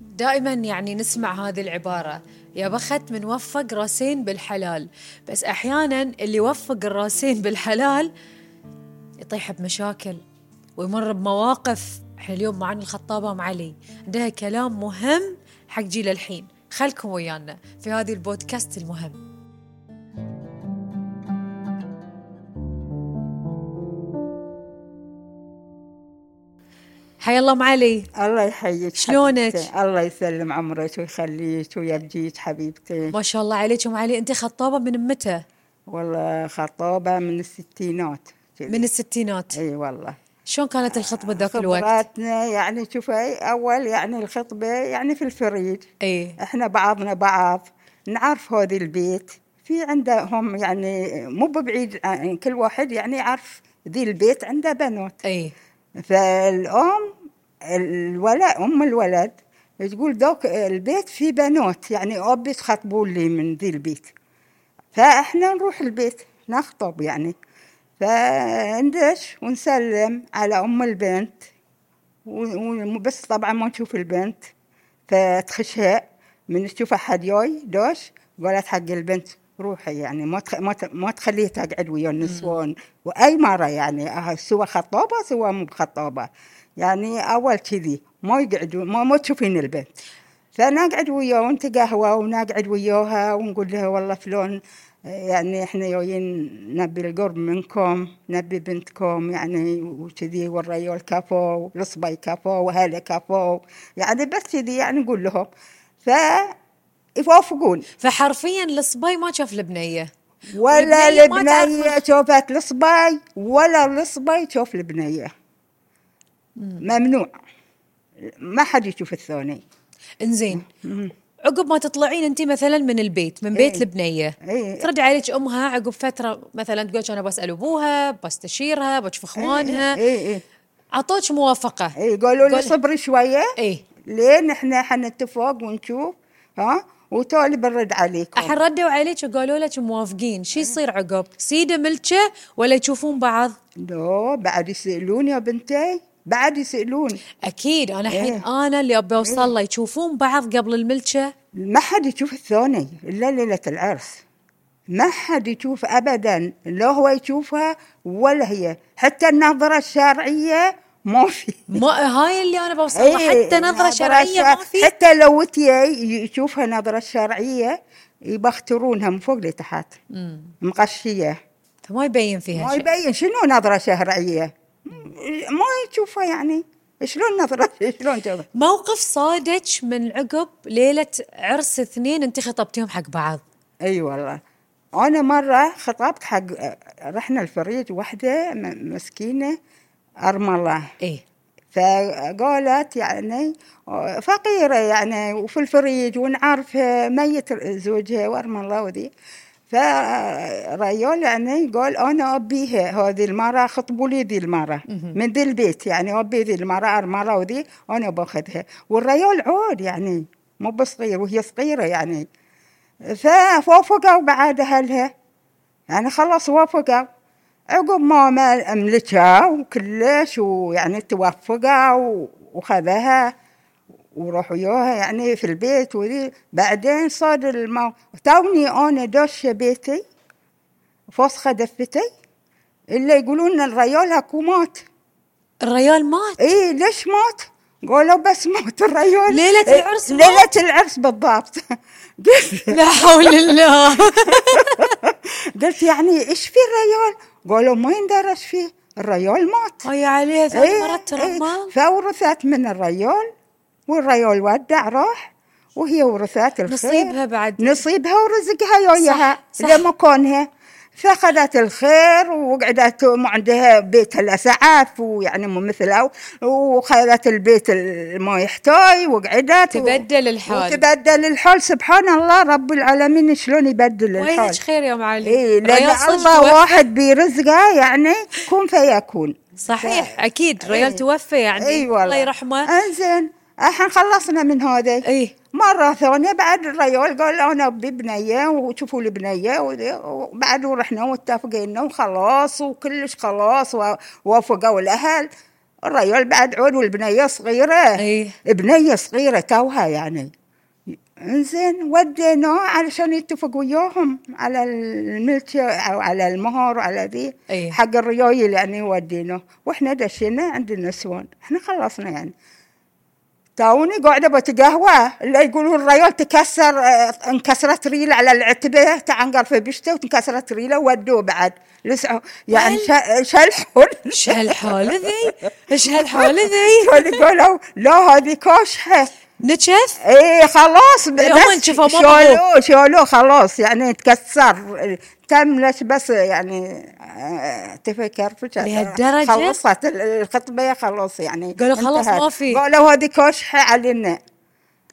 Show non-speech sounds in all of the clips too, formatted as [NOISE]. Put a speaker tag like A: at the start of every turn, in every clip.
A: دائما يعني نسمع هذه العبارة يا بخت من وفق راسين بالحلال بس أحيانا اللي وفق الراسين بالحلال يطيح بمشاكل ويمر بمواقف احنا اليوم معنا الخطابة أم علي عندها كلام مهم حق جيل الحين خلكم ويانا في هذه البودكاست المهم حيا الله أم علي
B: الله يحييك
A: شلونك؟
B: حبيبتي. الله يسلم عمرك ويخليك ويرجيك حبيبتي
A: ما شاء الله عليك أم علي أنت خطابة من متى؟
B: والله خطوبة من الستينات كذي.
A: من الستينات
B: اي والله
A: شلون كانت الخطبة ذاك الوقت؟
B: خبراتنا يعني شوفي اول يعني الخطبة يعني في الفريج
A: اي
B: احنا بعضنا بعض نعرف هذا البيت في عندهم يعني مو ببعيد عن- كل واحد يعني يعرف ذي البيت عنده بنات
A: اي
B: فالأم الولد أم الولد تقول دوك البيت فيه بنات يعني أبي تخطبون لي من ذي البيت فإحنا نروح البيت نخطب يعني فندش ونسلم على أم البنت و- وبس طبعا ما نشوف البنت فتخشها من تشوف أحد جاي دوش قالت حق البنت روحي يعني ما تخ... ما, ت... ما تخليه تقعد ويا النسوان واي مره يعني آه، سوى خطابه سوى مو بخطابه يعني اول كذي ما يقعدون ما ما تشوفين البنت فنقعد وياه ونتقهوى ونقعد وياها ونقول لها والله فلون آه، يعني احنا جايين نبي القرب منكم نبي بنتكم يعني وكذي والريول كفو والصبي كفو وهلا كفو يعني بس كذي يعني نقول لهم ف يوافقون
A: فحرفيا الصبي ما شاف البنية
B: ولا
A: والبنية ما تعرف
B: البنية شوفت الصبي ولا الصبي شوف البنية ممنوع ما حد يشوف الثاني
A: انزين عقب ما تطلعين انت مثلا من البيت من بيت
B: إيه.
A: البنيه
B: إيه.
A: ترد عليك امها عقب فتره مثلا تقول انا بسال ابوها بستشيرها بشوف
B: إيه،
A: اخوانها
B: اي اي
A: عطوك موافقه
B: اي قالوا لي
A: قول-
B: صبري شوية
A: اي
B: لين احنا حنتفق ونشوف ها وتالي بنرد عليكم
A: الحين ردوا عليك وقالوا لك موافقين شو يصير عقب سيده ملكه ولا يشوفون بعض
B: لا بعد يسألون يا بنتي بعد يسألون
A: اكيد انا الحين
B: إيه.
A: انا اللي ابي اوصل له يشوفون بعض قبل الملكه
B: ما حد يشوف الثاني الا ليله العرس ما حد يشوف ابدا لا هو يشوفها ولا هي حتى النظره الشرعيه ما في
A: ما هاي اللي انا بوصل لها
B: إيه،
A: حتى نظره شرعيه ما
B: شر-
A: في
B: حتى لو تي يشوفها نظره شرعيه يبخترونها من فوق لتحت مقشيه
A: فما طيب، يبين فيها
B: ما
A: شيء
B: يبين شنو نظره شرعيه ما يشوفها يعني شلون نظره [LAUGHS] شلون تشوفها
A: موقف صادج من عقب ليلة عرس اثنين انت خطبتيهم حق بعض
B: اي والله انا مره خطبت حق رحنا الفريج وحده م- مسكينه ارمى الله
A: ايه
B: فقالت يعني آه، فقيره يعني وفي الفريج ونعرفها ميت زوجها وارمى الله وذي فريول يعني قال انا ابيها هذه المره خطبوا لي ذي المره من ذي البيت يعني ابي ذي المره ارمى الله وذي انا باخذها والريول عود يعني مو بصغير وهي صغيره يعني فوافقوا بعد اهلها يعني خلاص وافقوا عقب ما ما املكها وكلش ويعني توافقوا وخذها وروحوا يوها يعني في البيت وذي بعدين صار المو توني انا دوشه بيتي فوسخه دفتي الا يقولون الريال هكو مات
A: الريال مات
B: اي ليش مات؟ قالوا بس مات الريال
A: ليلة
B: إيه،
A: العرس مات.
B: ليله العرس بالضبط [LAUGHS] قلت
A: لا حول الله
B: [LAUGHS] قلت يعني ايش في الريال؟ قالوا ما يندرس فيه الريال مات
A: هاي عليها ثلاث
B: إيه،
A: مرات ترى
B: إيه.
A: مال
B: فورثت من الريال والريال ودع راح وهي ورثت الخير
A: نصيبها بعد.
B: نصيبها ورزقها يوياها
A: صح، صح.
B: لمكانها فاخذت الخير وقعدت ما عندها بيت الاسعاف ويعني مو مثله وخذت البيت ال- ما يحتاج وقعدت و-
A: تبدل الحال.
B: وتبدل الحال سبحان الله رب العالمين شلون يبدل الحال
A: وينك خير يا ام علي
B: اي لان
A: الريال صدق
B: إيه، الله
A: توفى.
B: واحد بيرزقه يعني كن فيكون
A: صحيح اكيد الريال
B: إيه.
A: توفى يعني
B: اي والله
A: الله يرحمه إيه.
B: انزين الحين خلصنا من هذا
A: اي
B: مرة ثانية بعد الريال قال أنا أبي بنية وشوفوا لي بنية وذي، وبعد ورحنا واتفقنا وخلاص وكلش خلاص و- وافقوا الأهل الرجال بعد عود والبنيه صغيره
A: اي
B: بنيه صغيره توها يعني انزين وديناه علشان يتفق وياهم على الملك او على المهر وعلى ذي
A: اي
B: حق الريايل يعني وديناه واحنا دشينا عند النسوان احنا خلصنا يعني تاوني قاعده بتقهوى اللي يقولون الريال تكسر اه، انكسرت ريله على العتبه تعنقر في بشته وانكسرت ريله ودوه بعد لسعوا يعني
A: وين؟
B: شا- شلحون
A: ايش
B: [LAUGHS]
A: هالحالة ذي؟ ايش هالحالة ذي؟
B: شلحون إيه، قالوا لا هذه كاشحه
A: نكث
B: ايه خلاص ب-
A: إيه، هم انشفوا، مو
B: شالوه شالوه خلاص يعني تكسر تملت بس يعني آه، تفكر فجأة
A: لهالدرجة؟
B: خلصت ال- الخطبة خلاص يعني
A: قالوا خلاص
B: انتهت.
A: ما في.
B: قالوا هذه كشحة علينا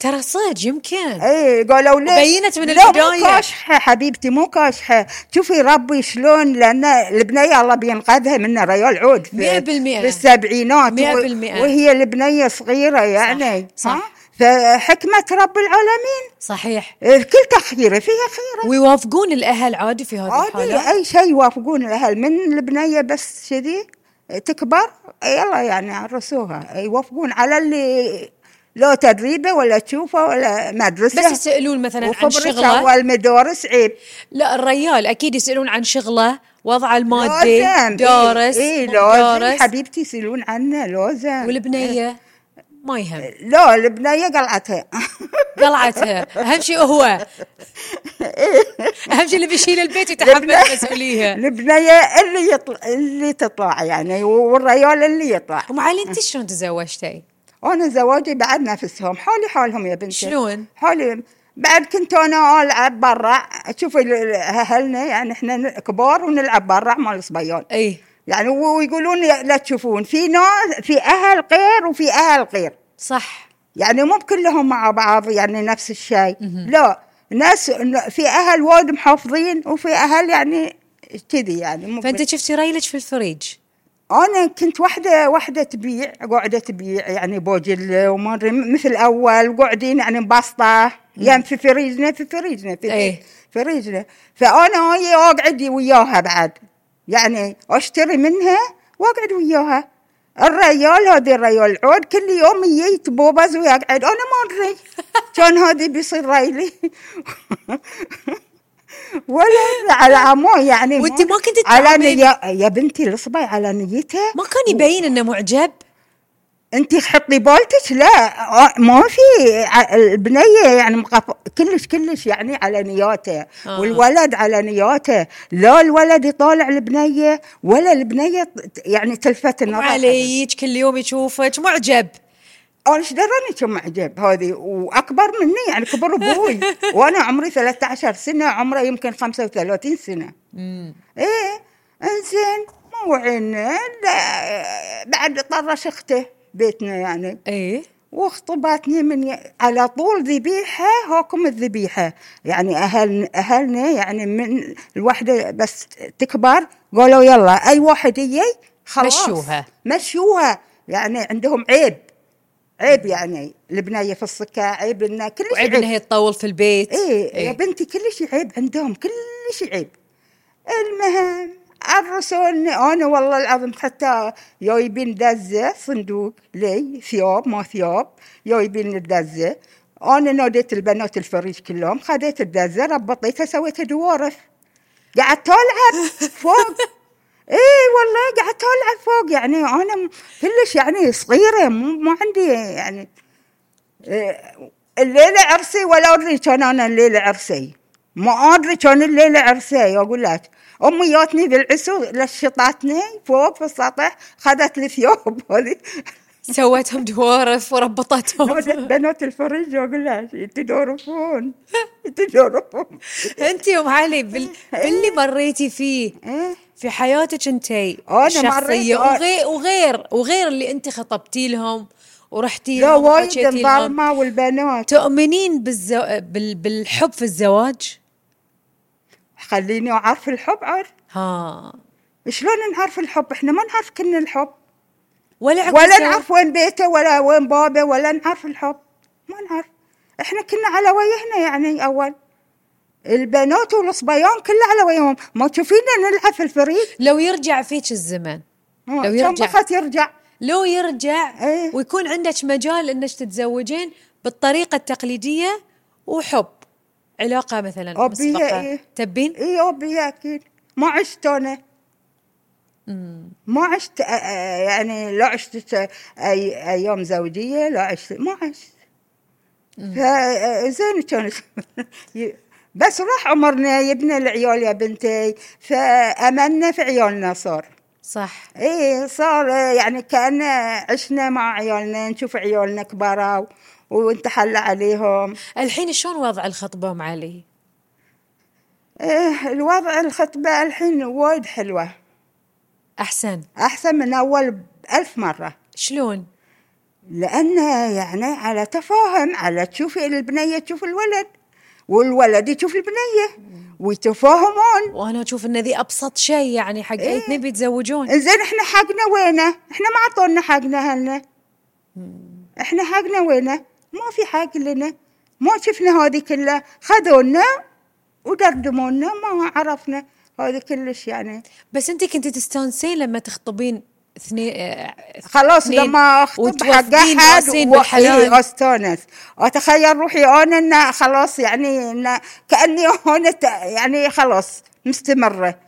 A: ترى صدق يمكن
B: اي قالوا ليه
A: وبينت من
B: لا، مو
A: البداية.
B: كاشحة حبيبتي مو كاشحة شوفي ربي شلون لان البنية الله بينقذها من ريال عود في-
A: مئة بالمئة.
B: في السبعينات
A: مئة
B: و-
A: بالمئة.
B: وهي البنية صغيرة يعني
A: صح.
B: ها؟ فحكمة رب العالمين
A: صحيح
B: الكل تخيره إيه، فيها خيره
A: ويوافقون الاهل عادي في هذه الحالة
B: عادي اي شيء يوافقون الاهل من البنيه بس كذي إيه، تكبر يلا يعني عرسوها يوافقون على اللي لو تدريبه ولا تشوفه ولا مدرسه
A: بس يسألون مثلا عن
B: وخبرته
A: شغله
B: والمدارس إيه، عيب
A: لا الريال اكيد يسألون عن شغله وضعه المادي
B: لازم
A: دارس
B: اي
A: مو
B: لازم
A: دارس
B: إيه، حبيبتي يسالون عنه لازم
A: والبنية ما يهم
B: لا البنيه قلعتها [LAUGHS]
A: قلعتها اهم شيء هو
B: إيه،
A: اهم شيء اللي بيشيل البيت يتحمل
B: البنية-
A: مسؤوليه
B: البنيه اللي يطلع اللي تطلع يعني والريال اللي يطلع
A: ام علي انت شلون تزوجتي؟
B: وانا زواجي بعد نفسهم حولي حالهم يا بنتي
A: شلون؟
B: حولي بعد كنت انا العب برا اشوف ال- ال- اهلنا يعني احنا ن- كبار ونلعب برا مال الصبيان
A: اي
B: يعني و- ويقولون يا- لا تشوفون في ناس في اهل غير وفي اهل غير
A: صح
B: يعني مو كلهم مع بعض يعني نفس الشيء لا ناس ن- في اهل وايد محافظين وفي اهل يعني كذي يعني مو
A: فانت شفتي ريلك في الفريج
B: انا كنت واحده واحده تبيع قاعده تبيع يعني بوجل ومرة مثل اول قاعدين يعني بسطه يعني في فريجنا في فريجنا في
A: إيه.
B: فريجنا فانا هي اقعد وياها بعد يعني اشتري منها واقعد وياها الريال هذه الريال عود كل يوم يجي تبوبز ويقعد انا ما
A: [LAUGHS]
B: ادري كان هذه بيصير ريلي [LAUGHS] ولا على عمو يعني
A: وانت ما كنت
B: على
A: تتعاملي-
B: نيا يا بنتي الصبي على نيته
A: ما كان يبين انه معجب
B: انت حطي بولتك لا آه، ما في ع- البنيه يعني مقف- كلش كلش يعني على نياته
A: آه.
B: والولد على نياته لا الولد يطالع البنيه ولا البنيه ت- يعني تلفت
A: أم
B: النظر
A: عليك كل يوم يشوفك معجب
B: انا ايش دراني كم معجب هذه واكبر مني يعني كبر ابوي وانا عمري 13 سنه عمره يمكن 35 سنه
A: مم.
B: ايه انزين مو عنا لا، بعد طرش اخته بيتنا يعني
A: اي
B: وخطبتني من ي- على طول ذبيحه هاكم الذبيحه يعني اهل اهلنا يعني من الوحده بس تكبر قالوا يلا اي واحد يجي خلاص
A: مشوها.
B: مشوها يعني عندهم عيب عيب يعني البنيه في السكه عيب انها كل
A: وعيب انها هي تطول في البيت
B: ايه يا
A: إيه.
B: بنتي كل شيء عيب عندهم كل شيء عيب المهم عرسوني انا والله العظيم حتى جايبين دزه صندوق لي ثياب ما ثياب جايبين الدزه انا ناديت البنات الفريج كلهم خذيت الدزه ربطيتها سويت دوارف قعدت العب
A: [LAUGHS]
B: فوق ايه والله قعدت العب فوق يعني انا م- كلش يعني صغيره مو ما عندي يعني إيه، الليله عرسي ولا ادري كان انا الليله عرسي ما ادري كان الليله عرسي اقول لك امي جاتني بالعسو لشطتني فوق في السطح خذت لي ثياب [LAUGHS] هذه
A: سوتهم دوارف وربطتهم
B: نادت بنات الفرج اقول لك [LAUGHS] تدورفون تدورفون
A: انت يا ام علي بال... باللي مريتي فيه
B: إيه.
A: في حياتك انت
B: مريت-
A: الشخصيه وغير وغير وغير اللي انت خطبتي لهم ورحتي
B: لا
A: لهم
B: وايد
A: وحكيتي لهم
B: الظلمه والبنات
A: تؤمنين بالزو... بال... بالحب في الزواج؟
B: خليني اعرف الحب عاد
A: ها
B: شلون نعرف الحب احنا ما نعرف كنا الحب
A: ولا عقب
B: ولا
A: الزواج؟
B: نعرف وين بيته ولا وين بابه ولا نعرف الحب ما نعرف احنا كنا على وجهنا يعني اول البنات والصبيان كله على وجههم ما تشوفينا نلعب في الفريق
A: لو يرجع فيك الزمن لو يرجع.
B: كم وقت يرجع
A: لو يرجع
B: إيه.
A: ويكون عندك مجال انك تتزوجين بالطريقه التقليديه وحب علاقه مثلا
B: أبيها
A: مسبقه
B: إيه.
A: تبين
B: اي ابي اكيد ما عشت انا ما عشت آه، آه، يعني لا عشت آه، اي ايام زوجيه لا عشت ما عشت فزين كانت ي- [LAUGHS] بس راح عمرنا يبنى العيال يا بنتي فاملنا في عيالنا صار
A: صح
B: ايه صار آه، يعني كان عشنا مع عيالنا نشوف عيالنا كبروا ونتحلى عليهم
A: الحين شلون وضع الخطبه ام علي
B: إيه الوضع الخطبه الحين وايد حلوه
A: احسن
B: أحسن من أول ألف مرة
A: شلون
B: لأن يعني على تفاهم على تشوف البنية تشوف الولد والولد يشوف البنية ويتفاهمون
A: وانا اشوف ان ذي ابسط شيء يعني حق
B: إيه.
A: الاثنين بيتزوجون
B: إنزين إحنا حقنا وينه؟ إحنا ما عطونا حقنا هلنا إحنا حقنا وينه؟ ما في حق لنا ما شفنا هذه كلها خذونا ودردمونا ما عرفنا هذه كلش يعني
A: بس انت كنت تستانسين لما تخطبين اثنين آه،
B: خلاص
A: اثنين
B: لما اخطب حق
A: وتوفين
B: احد
A: راسين
B: و-
A: بالحلال.
B: إيه، استانس اتخيل روحي انا ان خلاص يعني ان [LAUGHS] كاني انا ت- يعني خلاص مستمره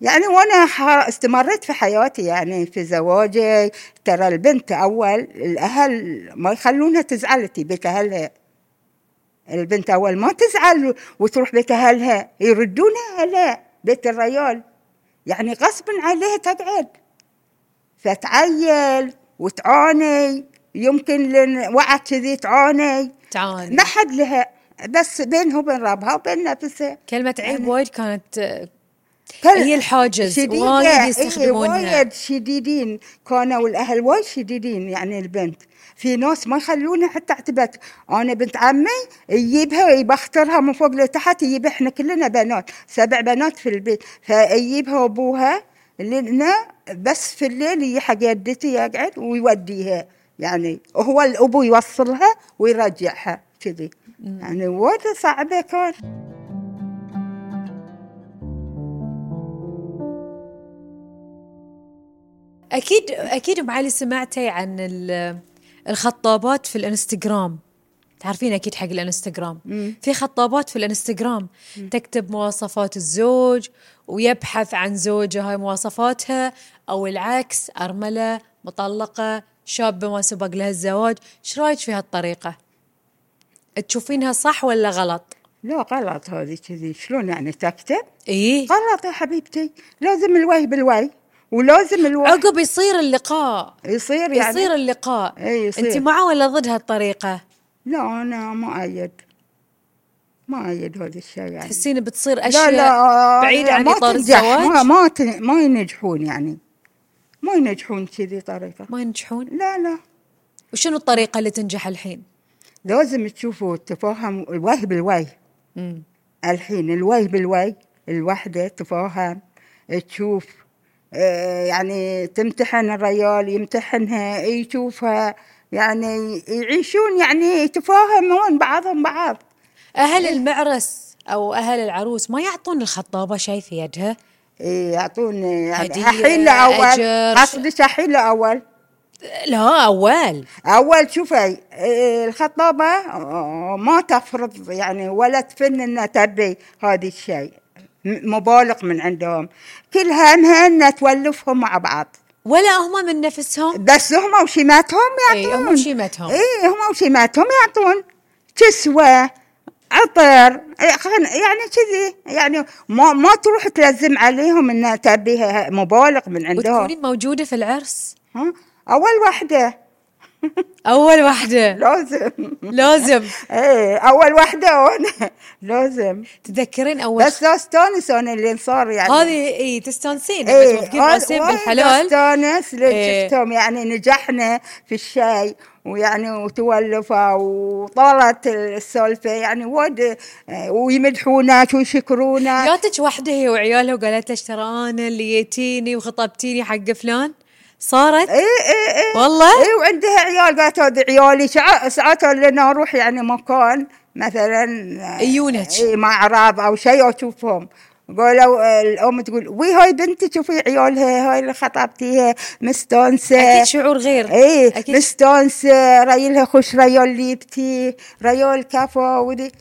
B: يعني وانا ح- استمريت في حياتي يعني في زواجي ترى البنت اول الاهل ما يخلونها تزعل تي بيت اهلها البنت اول ما تزعل وتروح بيت اهلها يردونها لا بيت الريال يعني غصب عليها تقعد فتعيل وتعاني يمكن لن وعد كذي تعاني
A: تعاني
B: ما حد لها بس بينها وبين ربها وبين نفسها
A: كلمه عيب
B: يعني-
A: وايد كانت آه،
B: كل-
A: هي الحاجز
B: شديدة،
A: وايد
B: إيه
A: يستخدمونها
B: وايد شديدين كانوا الاهل وايد شديدين يعني البنت في ناس ما يخلونها حتى اعتبت انا بنت عمي يجيبها يبخترها من فوق لتحت يجيبها احنا كلنا بنات سبع بنات في البيت فيجيبها ابوها لنا بس في الليل يجي حق جدتي يقعد ويوديها يعني هو الابو يوصلها ويرجعها كذي يعني وايد صعبه كان
A: اكيد اكيد ام علي سمعتي عن ال- الخطابات في الانستغرام تعرفين اكيد حق الانستغرام في خطابات في الانستغرام تكتب مواصفات الزوج ويبحث عن زوجها هاي مواصفاتها او العكس ارمله مطلقه شابه ما سبق لها الزواج ايش رايك في هالطريقه تشوفينها صح ولا غلط
B: لا غلط هذه كذي شلون يعني تكتب
A: ايه
B: غلط يا حبيبتي لازم الوي بالوي ولازم الوي
A: عقب يصير اللقاء
B: يصير يعني
A: يصير اللقاء
B: إي يصير.
A: انت مع ولا ضد هالطريقه
B: لا انا ما ايد ما ايد هذا الشيء يعني
A: تحسين بتصير
B: لا
A: اشياء
B: لا
A: بعيده
B: لا،
A: عن
B: ما
A: اطار
B: تنجح، ما
A: الزواج
B: ما تن- ما ينجحون يعني ما ينجحون كذي طريقه
A: ما ينجحون
B: لا لا
A: وشنو الطريقه اللي تنجح الحين
B: لازم تشوفوا التفاهم الوي بالوي الحين الوي بالوي الوحدة تفاهم تشوف آه، يعني تمتحن الريال يمتحنها يشوفها يعني يعيشون يعني يتفاهمون بعضهم بعض
A: اهل
B: إيه.
A: المعرس او اهل العروس ما يعطون الخطابه شيء في يدها
B: إيه، يعطون يعني
A: هدية،
B: حيلة أول
A: أجر.
B: قصدك حيلة أول
A: لا اول
B: أول شوفي إيه، الخطابة آه، ما تفرض يعني ولا تفن إنها تبي هذا الشيء م- مبالغ من عندهم كل همها إنها تولفهم مع بعض
A: ولا هم من نفسهم
B: بس هم وشيماتهم
A: إي،
B: يعطون
A: هم وشيمتهم.
B: اي هم وشيماتهم يعطون كسوه عطر خن- يعني كذي يعني ما ما تروح تلزم عليهم ان تبيها مبالغ من عندهم
A: وتكونين موجوده في العرس
B: ها؟ اول واحده
A: اول واحده
B: لازم
A: لازم
B: ايه اول واحده وانا لازم
A: تذكرين اول
B: بس لا استانس انا اللي صار يعني
A: هذه اي تستانسين لما
B: إيه،
A: توقفين
B: وايد-
A: راسين
B: وايد
A: بالحلال
B: استانس لأن
A: إيه.
B: شفتهم يعني نجحنا في الشاي ويعني وتولفوا وطالت السالفه يعني وايد آه، ويمدحونك ويشكرونك
A: جاتك واحدة هي وعيالها وقالت لك ترى أنا اللي جيتيني وخطبتيني حق فلان صارت
B: اي اي اي
A: والله؟
B: اي إيه، وعندها عيال قالت هذي عيالي شع- ساعات لنا اروح يعني مكان مثلا آه،
A: يجونك.
B: اي معرض او شيء اشوفهم قالوا الام تقول وي هاي بنتي شوفي عيالها هاي اللي خطبتيها مستانسه
A: اكيد شعور غير
B: ايه
A: أكيد.
B: مستانسه ريلها خوش ريال ليبتي ريال كفا ودي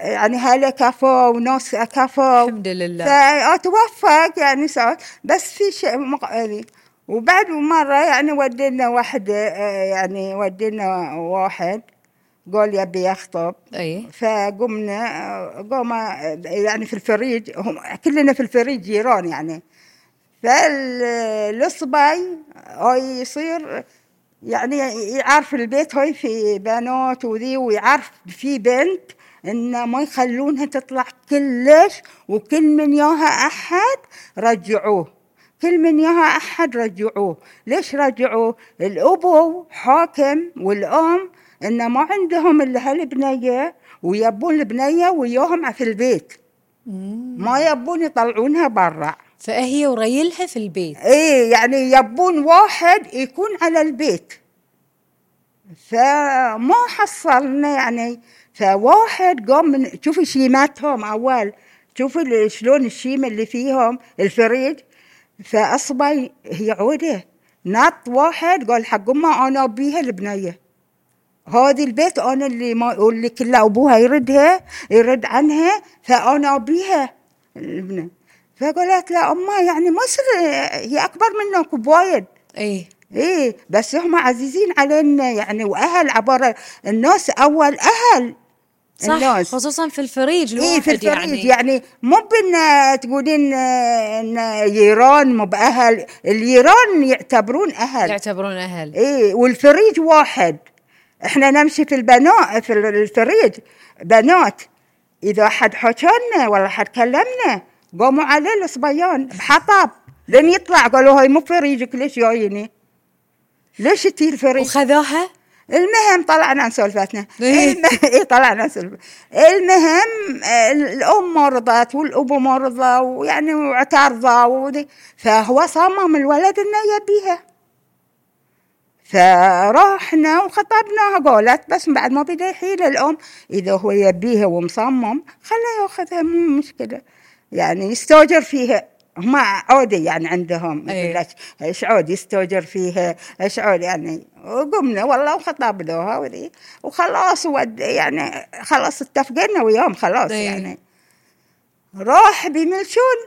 B: يعني هلا كفا وناس كفا
A: الحمد لله
B: فاتوفق آه، يعني ساعات بس في شيء مقالي وبعد مرة يعني ودينا واحد آه، يعني ودينا واحد قال يبي يخطب
A: اي
B: فقمنا آه، قام آه، يعني في الفريج هم كلنا في الفريج جيران يعني فالصبي هاي يصير يعني يعرف البيت هاي في بنات وذي ويعرف في بنت ان ما يخلونها تطلع كلش وكل من ياها احد رجعوه كل من ياها احد رجعوه ليش رجعوه الابو حاكم والام ان ما عندهم الا هالبنيه ويبون البنيه وياهم في البيت ما يبون يطلعونها برا
A: فهي وريلها في البيت
B: ايه يعني يبون واحد يكون على البيت فما حصلنا يعني فواحد قام من شوفي شيماتهم اول شوفي ال- شلون الشيمه اللي فيهم الفريج فاصبع هي عوده نط واحد قال حق امه انا ابيها البنيه هذه البيت انا اللي ما واللي كله ابوها يردها يرد عنها فانا ابيها الابنه فقالت لا امه يعني ما يصير هي اكبر منك بوايد
A: اي
B: ايه بس هم عزيزين علينا يعني واهل عباره الناس اول اهل
A: صح
B: الناس.
A: خصوصا في الفريج الواحد
B: ايه في الفريج
A: يعني,
B: يعني مو بان تقولين ان ييران مو باهل الييران يعتبرون اهل
A: يعتبرون اهل
B: ايه والفريج واحد احنا نمشي في البنات في الفريج بنات اذا حد حكانا ولا حد كلمنا قاموا عليه الصبيان بحطب لين يطلع قالوا هاي مو فريجك ليش جايني ليش تي الفريج
A: وخذوها
B: المهم طلعنا عن سولفتنا
A: إيه.
B: الم- إيه طلعنا عن سولفتنا المهم آه، الام ما رضت والابو ما رضى ويعني واعترضوا وذي. فهو صمم الولد انه يبيها فرحنا وخطبناها قالت بس بعد ما بدا يحيل الام اذا هو يبيها ومصمم خله ياخذها مو مشكله يعني يستوجر فيها هم عودي يعني عندهم
A: أي.
B: يقول لك ايش عود يستوجر فيها ايش عود يعني وقمنا والله وخطبناها وذي وخلاص ود يعني خلاص اتفقنا وياهم خلاص
A: أي.
B: يعني راح بملشون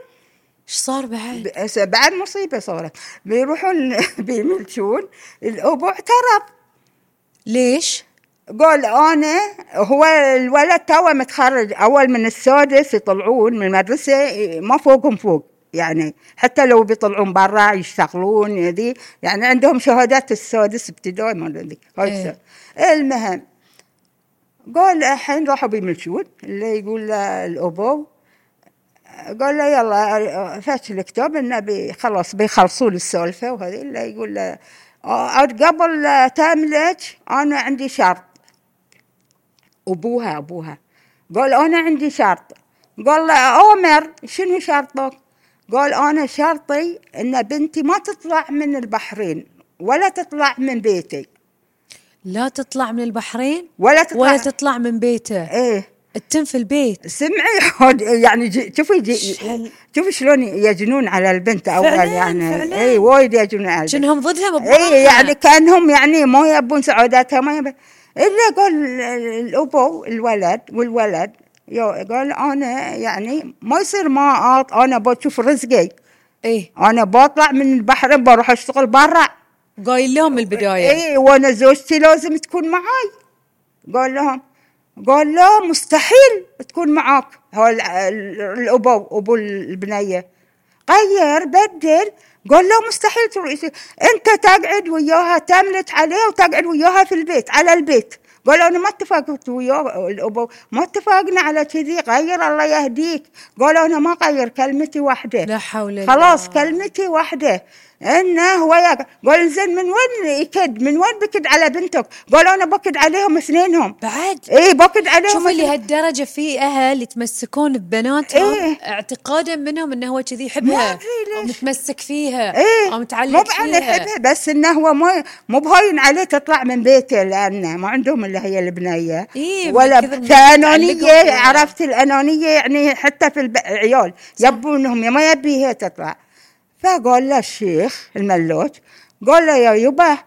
A: ايش صار بعد؟
B: بس بعد مصيبه صارت بيروحون [LAUGHS] بيملشون الابو اعترف
A: ليش؟
B: قال انا هو الولد توه متخرج اول من السادس يطلعون من المدرسه ما فوقهم فوق يعني حتى لو بيطلعون برا يشتغلون ذي يعني عندهم شهادات السادس ابتدائي ما أدري ذي هاي
A: إيه.
B: السادس. المهم قال الحين راحوا بيمشون اللي يقول له الابو قال له يلا فاتش الكتاب انه بي- خلاص بيخلصوا لي السالفه وهذه اللي يقول له آه، قبل لا تملك انا عندي شرط ابوها ابوها قال انا عندي شرط قال له عمر شنو شرطك قال انا شرطي ان بنتي ما تطلع من البحرين ولا تطلع من بيتي
A: لا تطلع من البحرين
B: ولا تطلع
A: ولا تطلع من بيته
B: ايه
A: تتم في البيت
B: سمعي حد يعني جي شوفي جي
A: شحال-
B: شوفي شلون يجنون على البنت اول
A: فعلاً،
B: يعني
A: فعلاً.
B: اي وايد يجنون على البنت
A: شنهم ضدها ببعضها.
B: اي يعني كانهم يعني ما يبون سعادتها ما يبون الا قال الابو الولد والولد يو- قال انا يعني ما يصير ما أعط انا بشوف رزقي
A: ايه
B: انا بطلع من البحر بروح اشتغل برا
A: قايل لهم من البدايه
B: اي وانا إيه، زوجتي لازم تكون معاي قال لهم قال لا مستحيل تكون معاك هو ال- ال- الابو ابو البنيه غير بدل قال لا مستحيل تروح انت تقعد وياها تملك عليه وتقعد وياها في البيت على البيت قال انا ما اتفقت وياه الابو ما اتفقنا على كذي غير الله يهديك قال انا ما غير كلمتي واحده
A: لا حول الله.
B: خلاص كلمتي واحده انه هو يق- قال زين من وين يكد من وين بكد على بنتك قالوا انا بكد عليهم اثنينهم
A: بعد
B: اي بكد عليهم
A: شوفي
B: اثنين.
A: لهالدرجه في اهل يتمسكون ببناتهم
B: إيه.
A: اعتقادا منهم انه هو كذي
B: ما
A: يحبها
B: أدري ليش.
A: او متمسك فيها
B: ايه
A: او
B: مو
A: متعلق
B: بأن
A: فيها
B: يحبها بس انه هو مو مو بهين عليه تطلع من بيته لانه ما عندهم الا هي البنيه
A: إيه، من
B: ولا
A: كثر ما
B: كانونيه
A: يتعلقوا فيها.
B: عرفت الانونيه يعني حتى في الب- العيال يبونهم يا ما يبي هي تطلع فقال له الشيخ الملوت قال له يا يبا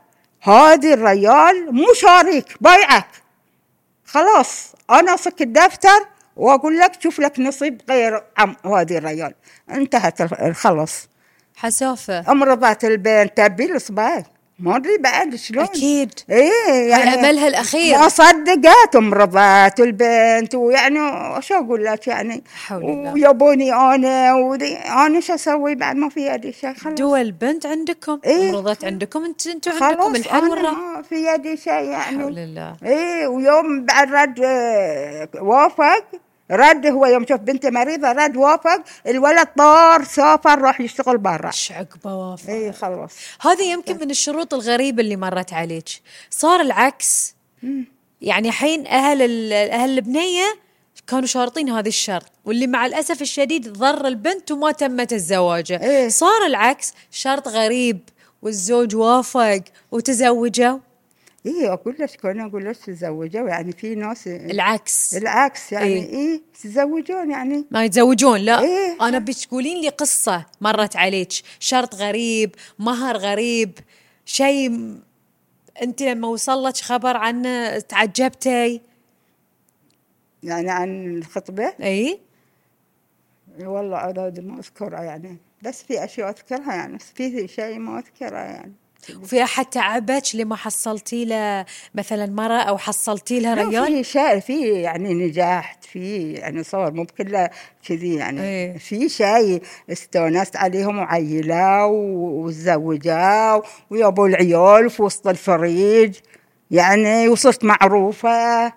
B: هذه الريال مو شريك بايعك خلاص انا اصك الدفتر واقول لك شوف لك نصيب غير عم هذه الريال انتهت الخلص
A: حسافه
B: امرضت البين تبي الصباح إيه ما ادري بعد شلون
A: اكيد
B: ايه
A: على
B: يعني
A: املها الاخير
B: ما صدقت امرضت البنت ويعني شو اقول لك يعني
A: حول الله.
B: ويبوني انا ودي انا شو اسوي بعد ما في يدي شيء خلاص
A: دول بنت عندكم
B: إيه.
A: مرضت عندكم انت انتوا عندكم
B: خلاص
A: الحل
B: انا
A: والراحه
B: ما في يدي شيء
A: حول
B: يعني
A: الله
B: ايه ويوم بعد رد آه، وافق رد هو يوم شوف بنتي مريضه رد وافق الولد طار سافر راح يشتغل برا
A: ايش عقبه وافا
B: ايه خلاص
A: هذه يمكن من الشروط الغريبة اللي مرت عليك صار العكس يعني حين أهل ال- أهل البنية كانوا شارطين هذا الشرط واللي مع الأسف الشديد ضر البنت وما تمت الزواجة
B: إيه.
A: صار العكس شرط غريب والزوج وافق وتزوجوا
B: ايه اقول لك كنا اقول لك تزوجوا يعني في ناس
A: العكس
B: العكس يعني
A: إيه.
B: ايه, إيه تزوجون يعني
A: ما يتزوجون لا
B: إيه.
A: أنا أبيك تقولين لي قصة مرت عليك شرط غريب مهر غريب شيء م- أنت لما وصلك خبر عنه تعجبتي
B: يعني عن الخطبه
A: اي
B: والله اراد ما اذكرها يعني بس في اشياء اذكرها يعني بس في شيء ما اذكرها يعني
A: وفي احد تعبك لما حصلتي له مثلا مره او حصلتي لها
B: لا،
A: ريال
B: في شيء في يعني نجاح في يعني صور مو بكله كذي يعني
A: إيه.
B: في شيء استونست عليهم وعيله و- وتزوجوا ويابوا العيال في وسط الفريج يعني وصرت معروفه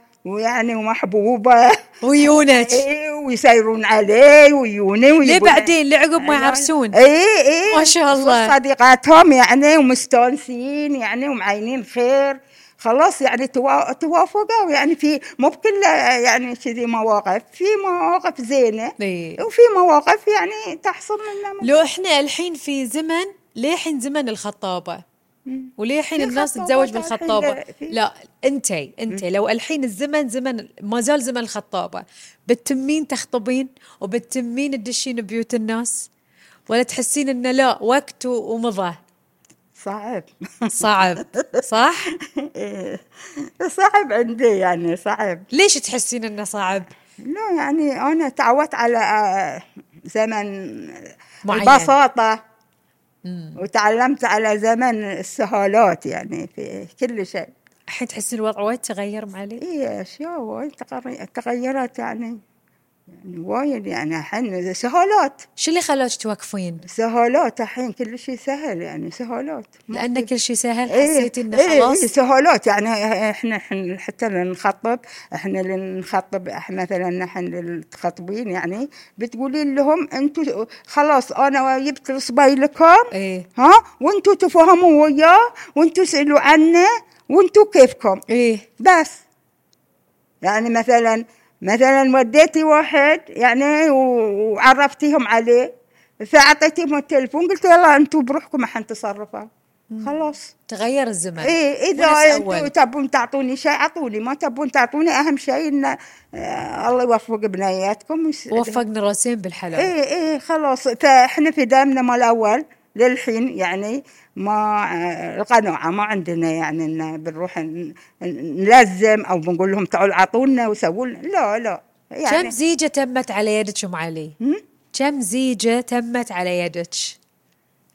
A: [LAUGHS]
B: ويعني ومحبوبه
A: ويونك
B: إيه ويسيرون علي ويوني
A: ليه
B: ويبون-
A: بعدين لعقب
B: أيوة.
A: ما يعرسون
B: اي اي
A: ما شاء الله.
B: إيه، صديقاتهم يعني ومستانسين يعني ومعينين خير خلاص يعني توا- توافقوا يعني في مو بكل يعني كذي مواقف في مواقف زينه
A: إي.
B: وفي مواقف يعني تحصل منها ما-
A: لو احنا الحين في زمن ليحين زمن الخطابه وليحين
B: في
A: الناس
B: خطابات
A: تتزوج
B: الحين،
A: بالخطابه
B: لا، في-
A: لا انتي انتي لو الحين الزمن زمن ما زال زمن الخطابه بتتمين تخطبين وبتتمين تدشين بيوت الناس ولا تحسين انه لا وقت ومضى
B: صعب [LAUGHS]
A: صعب صح
B: إيه. صعب عندي يعني صعب
A: ليش تحسين انه صعب
B: لا يعني انا تعودت على آه، زمن
A: معين.
B: البساطه وتعلمت على زمن السهالات يعني في كل شيء
A: الحين تحسين الوضع وايد تغير معلي
B: هي اشياء وايد تغر- تغيرت يعني يعني وايد يعني الحين سهالات
A: شو اللي خلاك توقفين؟
B: سهالات الحين كل شيء سهل يعني سهالات
A: لان كل شيء سهل
B: إيه،
A: حسيتي انه
B: إيه،
A: خلاص
B: إيه سهولات يعني احنا احنا حتى اللي نخطب احنا اللي نخطب احنا مثلا احنا اللي تخطبين يعني بتقولين لهم انتوا خلاص انا جبت صبي لكم
A: إيه.
B: ها وانتوا تفهموا وياه وانتوا اسالوا عنه وانتوا كيفكم
A: ايه
B: بس يعني مثلا مثلا وديتي واحد يعني و- وعرفتيهم عليه فاعطيتيهم التليفون قلت يلا انتوا بروحكم احنا تصرفوا خلاص
A: تغير الزمن
B: ايه اذا
A: وناس
B: انتوا
A: أول.
B: تبون تعطوني شيء اعطوني ما تبون تعطوني اهم شيء ان آه، الله يوفق بنياتكم ويسعدهم.
A: وفقنا راسين بالحلال إيه؟
B: ايه ايه خلاص فاحنا في دامنا مال الاول للحين يعني ما آه، القناعه ما عندنا يعني ان بنروح ن- ن- نلزم او بنقول لهم تعالوا اعطونا وسووا لنا. لا لا
A: كم
B: يعني
A: زيجه تمت على يدك ام علي؟
B: هم؟
A: كم زيجه تمت على يدك؟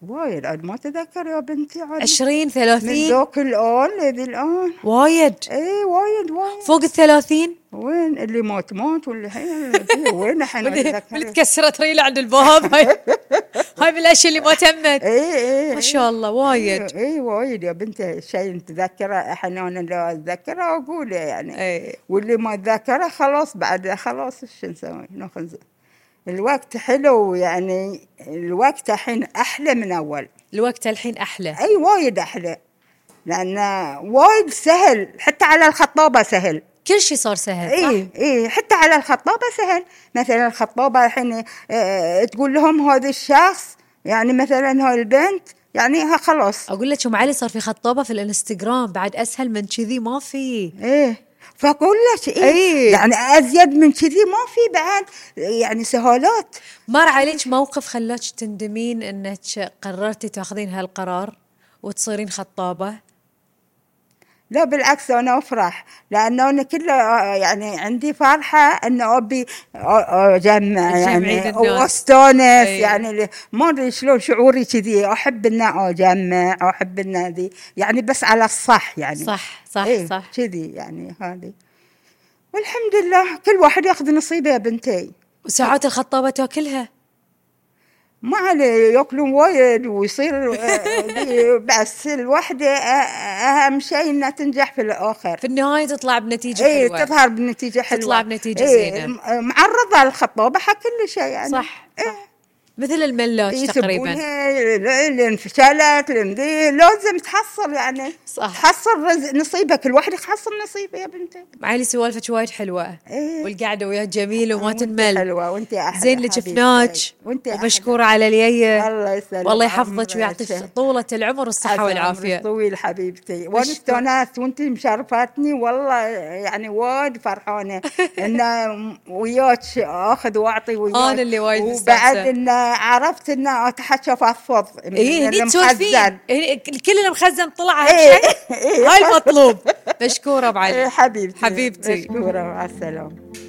B: وايد عاد ما تذكر يا بنتي عاد
A: 20
B: من
A: 30
B: ذوك الان لذي الان
A: وايد
B: ايه وايد وايد
A: فوق ال 30
B: وين اللي موت موت واللي حين
A: [LAUGHS]
B: وين احنا
A: واللي
B: نتذكر
A: تكسرت ريله عند الباب
B: [LAUGHS]
A: هاي هاي من الاشياء اللي ما تمت
B: ايه ايه
A: ما شاء الله وايد
B: اي إي إيه، وايد يا بنتي شيء تذكره حنان لو اتذكره اقوله يعني
A: إي.
B: واللي ما اتذكره خلاص بعد خلاص شو نسوي ناخذ الوقت حلو يعني الوقت الحين أحلى من أول
A: الوقت الحين أحلى
B: أي وايد أحلى لأن وايد سهل حتى على الخطابة سهل
A: كل شيء صار سهل
B: اي اي إيه، حتى على الخطابه سهل مثلا الخطابه الحين آه، تقول لهم هذا الشخص يعني مثلا هاي البنت يعني ها خلاص
A: اقول لك ام علي صار في خطابه في الانستغرام بعد اسهل من كذي ما في
B: ايه فاقول لك إيه
A: إيه.
B: يعني ازيد من كذي ما في بعد يعني سهولات
A: مر عليك موقف خلاك تندمين انك قررتي تاخذين هالقرار وتصيرين خطابه
B: لا بالعكس انا افرح لانه انا كله آه، يعني عندي فرحه ان ابي آه، آه، اجمع
A: تجمعين
B: يعني
A: الناس. إيه.
B: واستانس
A: أي.
B: يعني ل- ما ادري شلون شعوري كذي احب ان اجمع احب ان ذي يعني بس على الصح يعني
A: صح صح
B: إيه،
A: صح
B: كذي يعني هذه والحمد لله كل واحد ياخذ نصيبه يا بنتي
A: وساعات الخطابه تاكلها
B: ما عليه ياكلون
A: [LAUGHS]
B: وايد ويصير آه، ذي، بس الوحده آه، اهم شيء انها تنجح في الاخر
A: في النهايه تطلع بنتيجه
B: اي
A: حلوه
B: إيه، تظهر بنتيجه حلوه
A: بنتيجة
B: إيه،
A: زينة.
B: م- معرضه للخطوبه حق كل شيء يعني
A: صح, صح. مثل
B: إيه،
A: الملاج تقريبا
B: يسبونها لين انفشلت لين ذي، لازم تحصل يعني
A: صح.
B: تحصل رز- نصيبك الواحد يحصل نصيبه يا بنتي
A: معالي سوالفك وايد حلوه
B: إيه.
A: والقعده وياك جميل وما
B: وانت
A: تنمل
B: حلوه وانت احلى
A: زين اللي
B: حبيبتي.
A: شفناك
B: وانت أحلى.
A: ومشكوره على اليايه
B: الله يسلمك
A: والله يحفظك
B: عمرك.
A: ويعطيك طولة العمر والصحة
B: عسى
A: والعافية
B: عمرك طويل حبيبتي وانا
A: مشكور.
B: استانست وانت مشرفتني والله يعني وايد
A: [LAUGHS]
B: فرحانه ان وياك اخذ واعطي وياك
A: أنا اللي وايد
B: وبعد
A: مستانسة.
B: ان عرفت ان اتحكى فضفض من
A: اي إيه، هني تسولفين
B: المخزن.
A: إيه، الكل المخزن طلع
B: إيه،
A: هالشيء
B: إيه. [LAUGHS]
A: هاي المطلوب مشكورة أبو [LAUGHS]
B: إيه
A: علي
B: حبيبتي
A: حبيبتي.
B: مشكوره مع السلامه